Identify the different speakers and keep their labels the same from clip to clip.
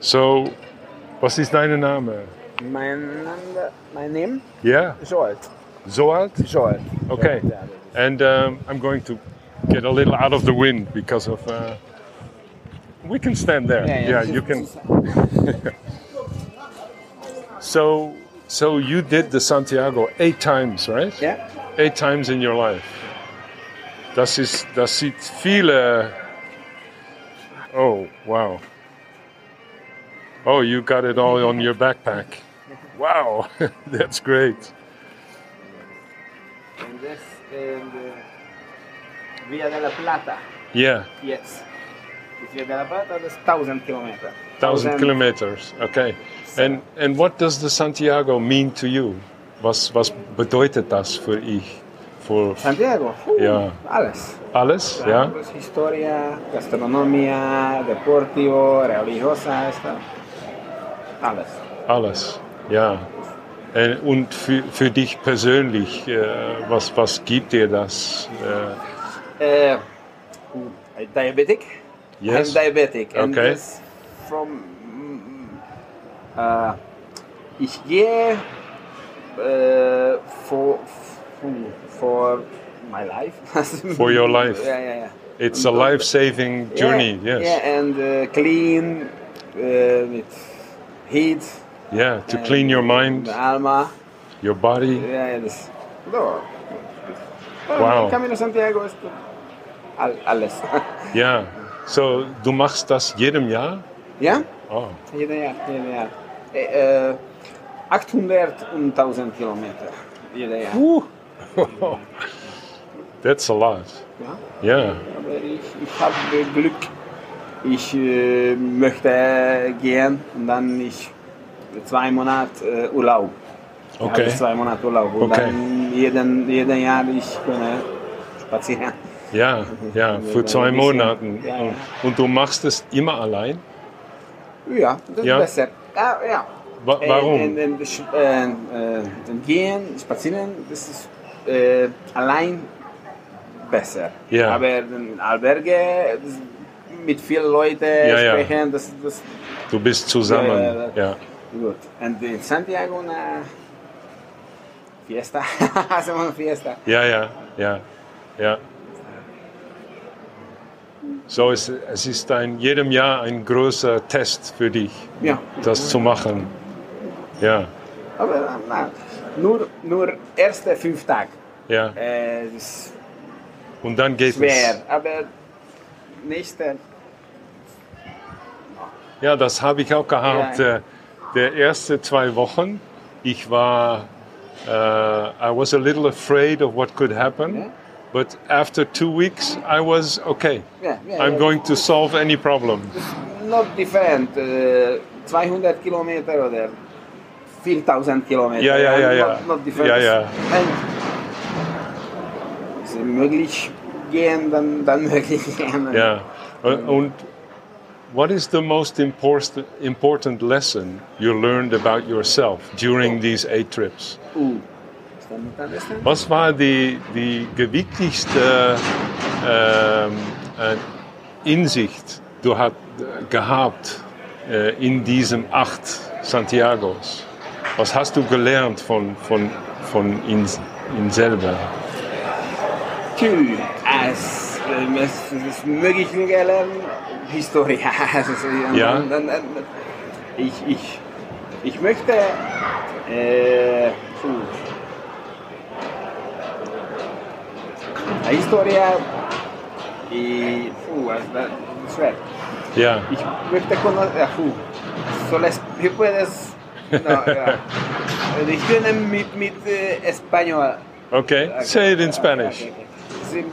Speaker 1: So, was ist dein Name?
Speaker 2: Mein, my name?
Speaker 1: Yeah,
Speaker 2: Joel.
Speaker 1: Zoad?
Speaker 2: Joel.
Speaker 1: Okay. And um, I'm going to get a little out of the wind because of. Uh, we can stand there. you can. So, so you did the Santiago eight times, right?
Speaker 2: Yeah.
Speaker 1: Eight times in your life. Das ist, das sieht viele. Oh wow. Oh, you got it all on your backpack. Wow, that's great.
Speaker 2: And this and uh, Via de la Plata.
Speaker 1: Yeah,
Speaker 2: Yes. It's Via de la Plata, that's 1,000 kilometers.
Speaker 1: thousand kilometers. Okay. And and what does the Santiago mean to you? Was was bedeutet das für ich? Für
Speaker 2: Santiago. Uh,
Speaker 1: Ja.
Speaker 2: Alles.
Speaker 1: alles? Ja.
Speaker 2: Pues, historia, gastronomía, deportivo, religiosa, esto. Alles.
Speaker 1: Alles, ja. Äh, Und für, für dich persönlich, äh, was, was gibt dir das? Äh,
Speaker 2: Uh, ooh, I'm diabetic.
Speaker 1: Yes.
Speaker 2: I'm diabetic. And
Speaker 1: Okay.
Speaker 2: this from mm, uh, ich gehe uh, for for my life.
Speaker 1: For your life.
Speaker 2: Yeah, yeah, yeah.
Speaker 1: It's a life-saving journey,
Speaker 2: yeah,
Speaker 1: yes.
Speaker 2: Yeah, and uh, clean uh, with heat.
Speaker 1: Yeah, to clean your mind,
Speaker 2: The alma.
Speaker 1: your body.
Speaker 2: Yeah, this. No.
Speaker 1: Wow.
Speaker 2: Bueno, Camino Santiago ist all- alles.
Speaker 1: Ja. So, du machst das jedem Jahr?
Speaker 2: ja?
Speaker 1: Oh,
Speaker 2: Jeden Jahr, jeden Jahr. Äh, äh, 800 und 1000 Kilometer. Jeden Jahr.
Speaker 1: that's a lot.
Speaker 2: Ja,
Speaker 1: Ja,
Speaker 2: aber ich, ich habe Glück. Ich äh, möchte gehen und dann ich zwei Monate äh, Urlaub. Ich habe
Speaker 1: Okay.
Speaker 2: Zwei Monate Urlaub. Und
Speaker 1: Okay.
Speaker 2: dann jeden, jeden Jahr ich kann spazieren.
Speaker 1: ja, ja, für zwei
Speaker 2: Bisschen,
Speaker 1: Monaten.
Speaker 2: ja, ja.
Speaker 1: Und, und du machst es immer allein?
Speaker 2: Ja, das
Speaker 1: Ja.
Speaker 2: ist besser. Ja, ja.
Speaker 1: Wa
Speaker 2: Äh,
Speaker 1: warum?
Speaker 2: äh, äh, sch- äh, äh, gehen, spazieren, das ist äh, allein besser.
Speaker 1: Ja.
Speaker 2: Aber in Alberge das, mit vielen Leuten
Speaker 1: Ja, ja.
Speaker 2: sprechen, das ist
Speaker 1: Du bist
Speaker 2: Ja,
Speaker 1: zusammen,
Speaker 2: ja,
Speaker 1: ja.
Speaker 2: gut. Und in Santiago eine Fiesta. Hacemos una Fiesta.
Speaker 1: Ja, ja, ja, ja. So, es, es ist ein, jedem Jahr ein großer Test für dich,
Speaker 2: Ja.
Speaker 1: das zu machen. Ja,
Speaker 2: Aber äh, na, nur, nur erste fünf Tage.
Speaker 1: ja.
Speaker 2: Äh, das ist
Speaker 1: Und dann geht
Speaker 2: schwer,
Speaker 1: es.
Speaker 2: aber nächste.
Speaker 1: Ja, das habe ich auch gehabt.
Speaker 2: Ja.
Speaker 1: äh, Der erste zwei Wochen, ich war, äh, I was a little afraid of what could happen.
Speaker 2: Ja.
Speaker 1: But after two weeks, I was okay.
Speaker 2: Ja, ja,
Speaker 1: I'm
Speaker 2: ja.
Speaker 1: going to solve any problem.
Speaker 2: not different. Äh, 200 Kilometer oder 4000 Kilometer.
Speaker 1: Ja, ja, ja, ja.
Speaker 2: Not, not different.
Speaker 1: Ja, ja.
Speaker 2: Und es möglich gehen, dann, dann möglich gehen.
Speaker 1: Yeah. Uh, and what is the most important important lesson you learned about yourself during these eight trips?
Speaker 2: Uh, ist dann nicht understand?
Speaker 1: Was war die, die gewichtigste ähm, äh, Insicht du hat, gehabt äh, in diesem acht Santiagos? Was hast du gelernt von, von, von in, in selber?
Speaker 2: Tschüss. Es, ähm, es, es ist möglich gelernt, Historie. Es ist-
Speaker 1: Ja.
Speaker 2: und dann- dann- ich, ich, ich möchte. Äh, puh. Historie. Ich, puh, also, es war schwer.
Speaker 1: Ja,
Speaker 2: Ich möchte conocer. Ja, puh. Solo es, wie puedes. No, genau, ja. Also, Ich bin mit, mit äh, Español.
Speaker 1: okay. Say it in Spanish.
Speaker 2: Sí,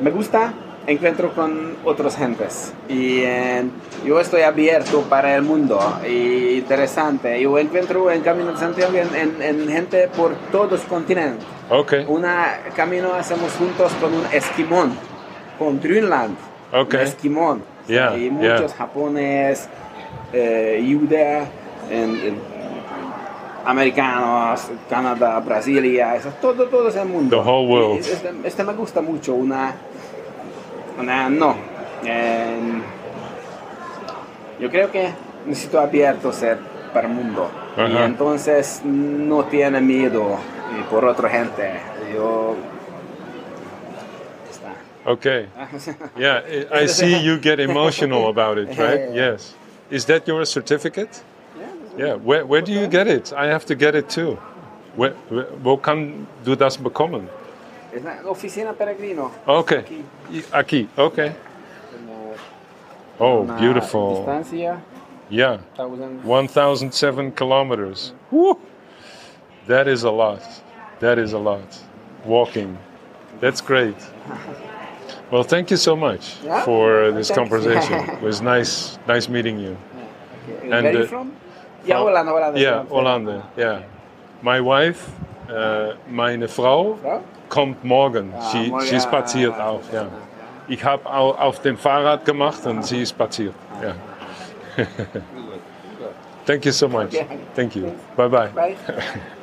Speaker 2: me gusta encuentro con otras gentes y eh, yo estoy abierto para el mundo y interesante. Yo encuentro en Camino de Santiago en, en- en gente por todos continentes.
Speaker 1: Okay.
Speaker 2: Una camino hacemos juntos con un esquimón, con Greenland,
Speaker 1: Ok.
Speaker 2: un esquimón
Speaker 1: Yeah,
Speaker 2: y
Speaker 1: yeah.
Speaker 2: muchos japoneses, eh, Judea, en- en- americanos, Canadá, Brasilia, eso, todo, todo ese mundo.
Speaker 1: The whole world.
Speaker 2: Y Este, este me gusta mucho, una, una no. Eh, yo creo que necesito abierto ser para el mundo. Y
Speaker 1: Ajá.
Speaker 2: entonces no tiene miedo eh, por otra gente. Yo. Está.
Speaker 1: Okay. Yeah, I- I see you get emotional about it, right? Yes. Is that your certificate? Yeah. Where, where do you get it? I have to get it too. Where, where, wo kann du das bekommen?
Speaker 2: Es la oficina peregrino.
Speaker 1: Okay. Aquí. Okay.
Speaker 2: Como
Speaker 1: Oh,
Speaker 2: una
Speaker 1: beautiful.
Speaker 2: Distancia.
Speaker 1: Yeah.
Speaker 2: 1000.
Speaker 1: 1,007 kilometers. Woo! That is a lot. That is a lot. Walking. That's great. Well, thank you so much
Speaker 2: Yeah,
Speaker 1: for this
Speaker 2: thanks.
Speaker 1: conversation. It was nice, nice meeting you.
Speaker 2: Where are you
Speaker 1: uh,
Speaker 2: from? Ja, Holanda, Holanda.
Speaker 1: Yeah,
Speaker 2: Holland.
Speaker 1: Hollander. Yeah. My wife, uh, meine Frau,
Speaker 2: Frau?
Speaker 1: kommt morgen.
Speaker 2: Ah,
Speaker 1: sie,
Speaker 2: morgen,
Speaker 1: sie
Speaker 2: ja,
Speaker 1: spaziert
Speaker 2: ja,
Speaker 1: auch. Ja.
Speaker 2: ja.
Speaker 1: Ich habe auch auf dem Fahrrad gemacht und sie spaziert. Ja. Thank you so much.
Speaker 2: Okay.
Speaker 1: Thank you.
Speaker 2: Thanks.
Speaker 1: Bye bye.
Speaker 2: Bye.